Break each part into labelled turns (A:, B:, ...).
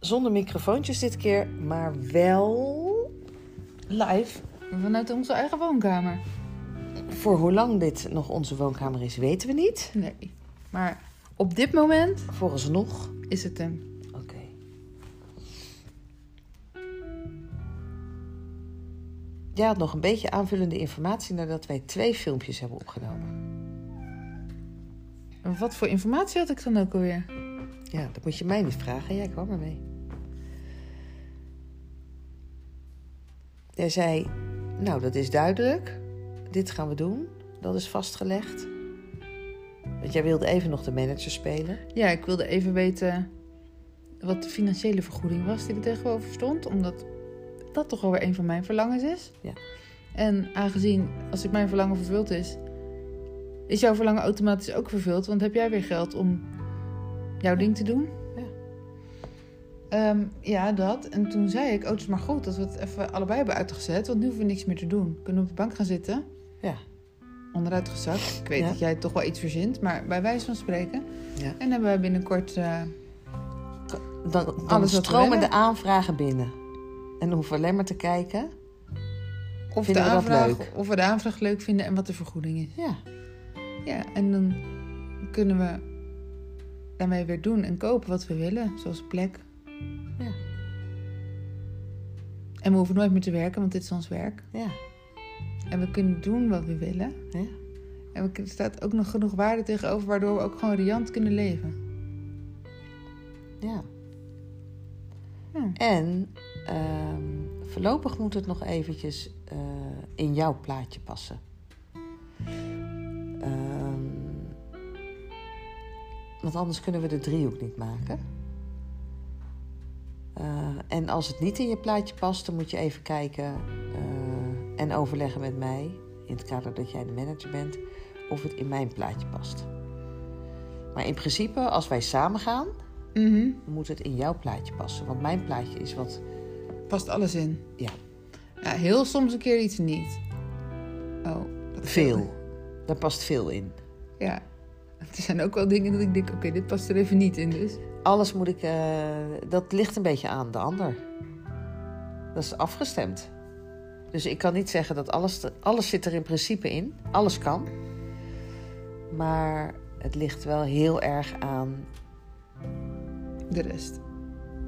A: Zonder microfoontjes dit keer, maar wel live.
B: Vanuit onze eigen woonkamer.
A: Voor hoe lang dit nog onze woonkamer is, weten we niet.
B: Nee. Maar op dit moment
A: Vooralsnog.
B: is het hem.
A: Oké. Jij had nog een beetje aanvullende informatie nadat wij twee filmpjes hebben opgenomen.
B: Wat voor informatie had ik dan ook alweer?
A: Ja, dat moet je mij niet vragen. Jij kwam er mee. Jij zei, nou dat is duidelijk. Dit gaan we doen. Dat is vastgelegd. Want jij wilde even nog de manager spelen.
B: Ja, ik wilde even weten wat de financiële vergoeding was die er tegenover stond. Omdat dat toch alweer een van mijn verlangens is.
A: Ja.
B: En aangezien als ik mijn verlangen vervuld is, is jouw verlangen automatisch ook vervuld. Want heb jij weer geld om jouw ding te doen?
A: Ja.
B: Ehm, ja, dat. En toen zei ik, oh, het is maar goed dat we het even allebei hebben uitgezet. Want nu hoeven we niks meer te doen. Kunnen we op de bank gaan zitten.
A: Ja.
B: Onderuit gezakt. Ik weet
A: Ja.
B: dat jij toch wel iets verzint, maar bij wijze van spreken.
A: Ja.
B: En hebben wij binnenkort... eh,
A: Dan, dan
B: Alles wat we
A: stromen de
B: willen.
A: aanvragen binnen. En dan hoeven we alleen maar te kijken.
B: Of, de
A: Vinden we dat
B: aanvraag,
A: leuk?
B: of we de aanvraag leuk vinden en wat de vergoeding is.
A: Ja,
B: Ja, en dan kunnen we daarmee weer doen en kopen wat we willen, zoals plek.
A: Ja.
B: En we hoeven nooit meer te werken, want dit is ons werk.
A: ja,
B: En we kunnen doen wat we willen.
A: ja.
B: En we kun- er staat ook nog genoeg waarde tegenover, waardoor we ook gewoon riant kunnen leven.
A: ja.
B: Ja.
A: En ehm, voorlopig moet het nog eventjes eh, in jouw plaatje passen. Ehm, want anders kunnen we de driehoek niet maken. Eh, en als het niet in je plaatje past, dan moet je even kijken eh, en overleggen met mij, in het kader dat jij de manager bent, of het in mijn plaatje past. Maar in principe, als wij samen gaan,
B: Mhm.
A: moet het in jouw plaatje passen. Want mijn plaatje is wat.
B: Past alles in.
A: Ja.
B: ja. Heel soms een keer iets niet. Oh, dat
A: Veel. Daar past veel in.
B: Ja. Er zijn ook wel dingen dat ik denk, oké, dit past er even niet in dus.
A: Alles moet ik. eh, dat ligt een beetje aan de ander. Dat is afgestemd. Dus ik kan niet zeggen dat alles. Alles zit er in principe in. Alles kan. Maar het ligt wel heel erg aan
B: De rest.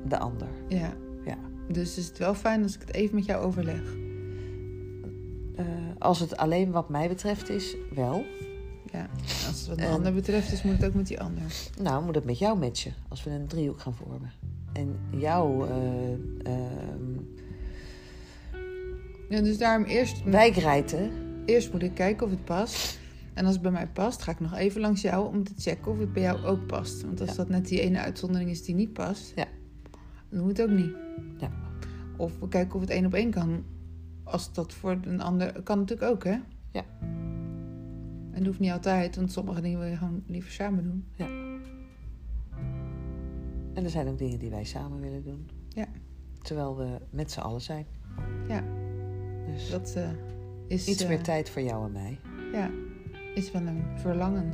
A: de ander.
B: Ja.
A: Ja.
B: Dus is het wel fijn als ik het even met jou overleg.
A: Eh, als het alleen wat mij betreft is, wel.
B: Ja. Als het wat de
A: En-
B: ander betreft, dus moet het ook met die ander.
A: Nou, moet het met jou matchen als we een driehoek gaan vormen. En jouw eh, ehm,
B: Ja, dus daarom eerst,
A: wijkrijten
B: eerst moet ik kijken of het past. En als het bij mij past, ga ik nog even langs jou om te checken of het bij jou ook past. Want als
A: Ja.
B: dat net die ene uitzondering is die niet past,
A: Ja.
B: dan moet het ook niet.
A: Ja.
B: Of we kijken of het één op één kan. Als dat voor een ander kan natuurlijk ook, hè?
A: Ja.
B: En dat hoeft niet altijd, want sommige dingen wil je gewoon liever samen doen.
A: En er zijn ook dingen die wij samen willen doen.
B: Ja.
A: Terwijl we met z'n allen zijn.
B: Ja.
A: Dus
B: Dat eh, is
A: iets
B: eh,
A: meer tijd voor jou en mij.
B: Ja, is wel een verlangen.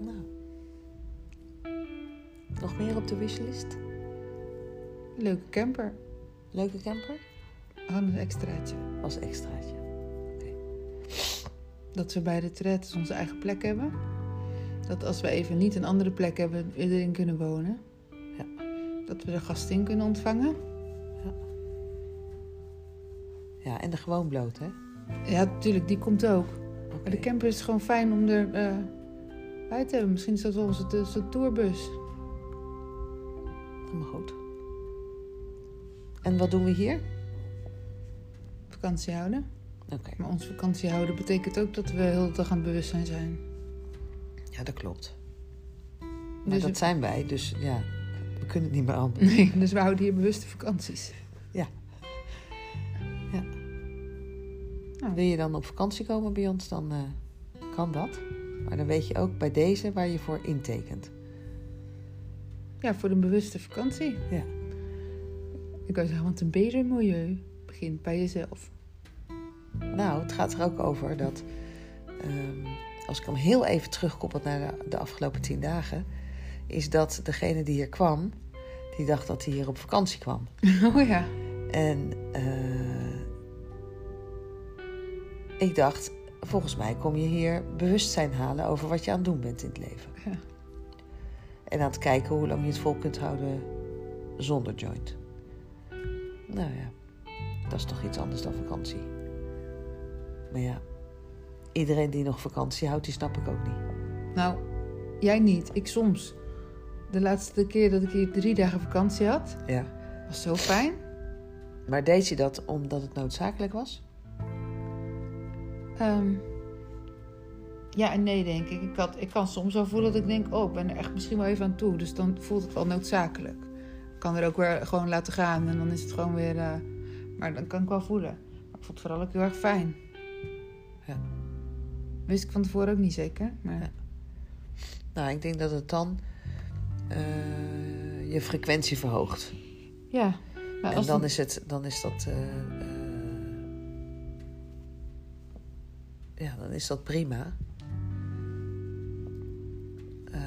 A: Nou. Nog meer op de wishlist?
B: Leuke camper.
A: Leuke camper?
B: Gewoon een extraatje.
A: Als extraatje.
B: Dat we bij de trettes onze eigen plek hebben. Dat als we even niet een andere plek hebben, we erin kunnen wonen.
A: Ja.
B: Dat we er gasten in kunnen ontvangen.
A: Ja, en de gewoon bloot, hè?
B: Ja, natuurlijk, die komt ook.
A: Oké.
B: Maar de camper is gewoon fijn om er eh, bij te hebben. Misschien is dat wel onze, to- onze tourbus.
A: Helemaal goed. En wat doen we hier?
B: Vakantie houden.
A: Oké.
B: Maar ons vakantie houden betekent ook dat we heel de dag aan het bewustzijn zijn.
A: Ja, dat klopt. Maar
B: Dus-
A: dat zijn wij, dus ja, we kunnen het niet meer anders.
B: Nee, dus we houden hier bewuste vakanties.
A: Wil je dan op vakantie komen bij ons, dan eh, kan dat. Maar dan weet je ook bij deze waar je voor intekent.
B: Ja, voor een bewuste vakantie.
A: Ja.
B: Ik wou zeggen, want een beter milieu begint bij jezelf.
A: Nou, het gaat er ook over dat. ehm, als ik hem heel even terugkoppel naar de, de afgelopen tien dagen. Is dat degene die hier kwam. Die dacht dat hij hier op vakantie kwam.
B: Oh ja.
A: En eh, ik dacht, volgens mij kom je hier bewustzijn halen over wat je aan het doen bent in het leven.
B: Ja.
A: En aan het kijken hoe lang je het vol kunt houden zonder joint. Nou ja, dat is toch iets anders dan vakantie. Maar ja, iedereen die nog vakantie houdt, die snap ik ook niet.
B: Nou, jij niet. Ik soms. De laatste keer dat ik hier drie dagen vakantie had,
A: Ja.
B: was zo fijn.
A: Maar deed je dat omdat het noodzakelijk was?
B: Ehm, ja en nee, denk ik. Ik, had, ik kan soms wel voelen dat ik denk, oh, ik ben er echt misschien wel even aan toe. Dus dan voelt het wel noodzakelijk. Ik kan er ook weer gewoon laten gaan en dan is het gewoon weer... eh, maar dan kan ik wel voelen. Maar ik vond het vooral ook heel erg fijn.
A: Ja.
B: Wist ik van tevoren ook niet zeker, maar...
A: Ja. Nou, ik denk dat het dan eh, je frequentie verhoogt.
B: Ja, maar
A: en
B: als
A: dan
B: het-
A: is, het, dan is dat. eh, eh, ja, dan is dat prima. Eh,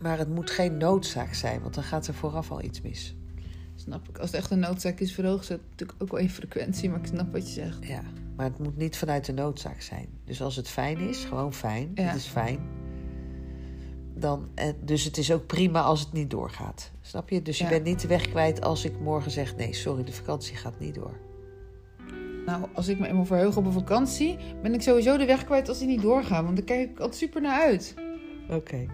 A: maar het moet geen noodzaak zijn, want dan gaat er vooraf al iets mis.
B: snap ik. Als het echt een noodzaak is, verhoogt ze het natuurlijk ook wel in frequentie, maar ik snap wat je zegt.
A: Ja, maar het moet niet vanuit de noodzaak zijn. Dus als het fijn is, gewoon fijn,
B: Ja.
A: het is fijn. Dan, eh, dus het is ook prima als het niet doorgaat. Snap je? Dus je
B: Ja.
A: bent niet de weg kwijt als ik morgen zeg: nee, sorry, de vakantie gaat niet door.
B: Nou, als ik me eenmaal verheug op een vakantie, ben ik sowieso de weg kwijt als die niet doorgaan, want daar kijk ik altijd super naar uit.
A: Oké.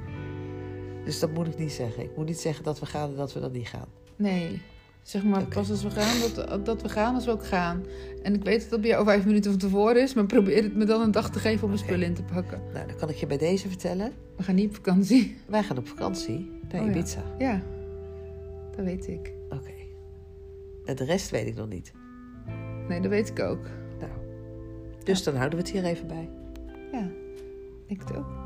A: Dus dat moet ik niet zeggen. Ik moet niet zeggen dat we gaan en dat we dat niet gaan.
B: Nee, zeg maar
A: Oké.
B: pas als we gaan, dat, dat we gaan als we ook gaan. En ik weet dat dat bij jou vijf minuten van tevoren is, maar probeer het me dan een dag te geven om mijn
A: Oké.
B: spullen in te pakken.
A: Nou, dan kan ik je bij deze vertellen.
B: We gaan niet op vakantie.
A: Wij gaan op vakantie naar
B: Oh ja.
A: Ibiza.
B: Ja, dat weet ik.
A: Oké. En de rest weet ik nog niet.
B: Nee, dat weet ik ook.
A: Nou. Dus dan houden we het hier even bij.
B: Ja, ik het ook.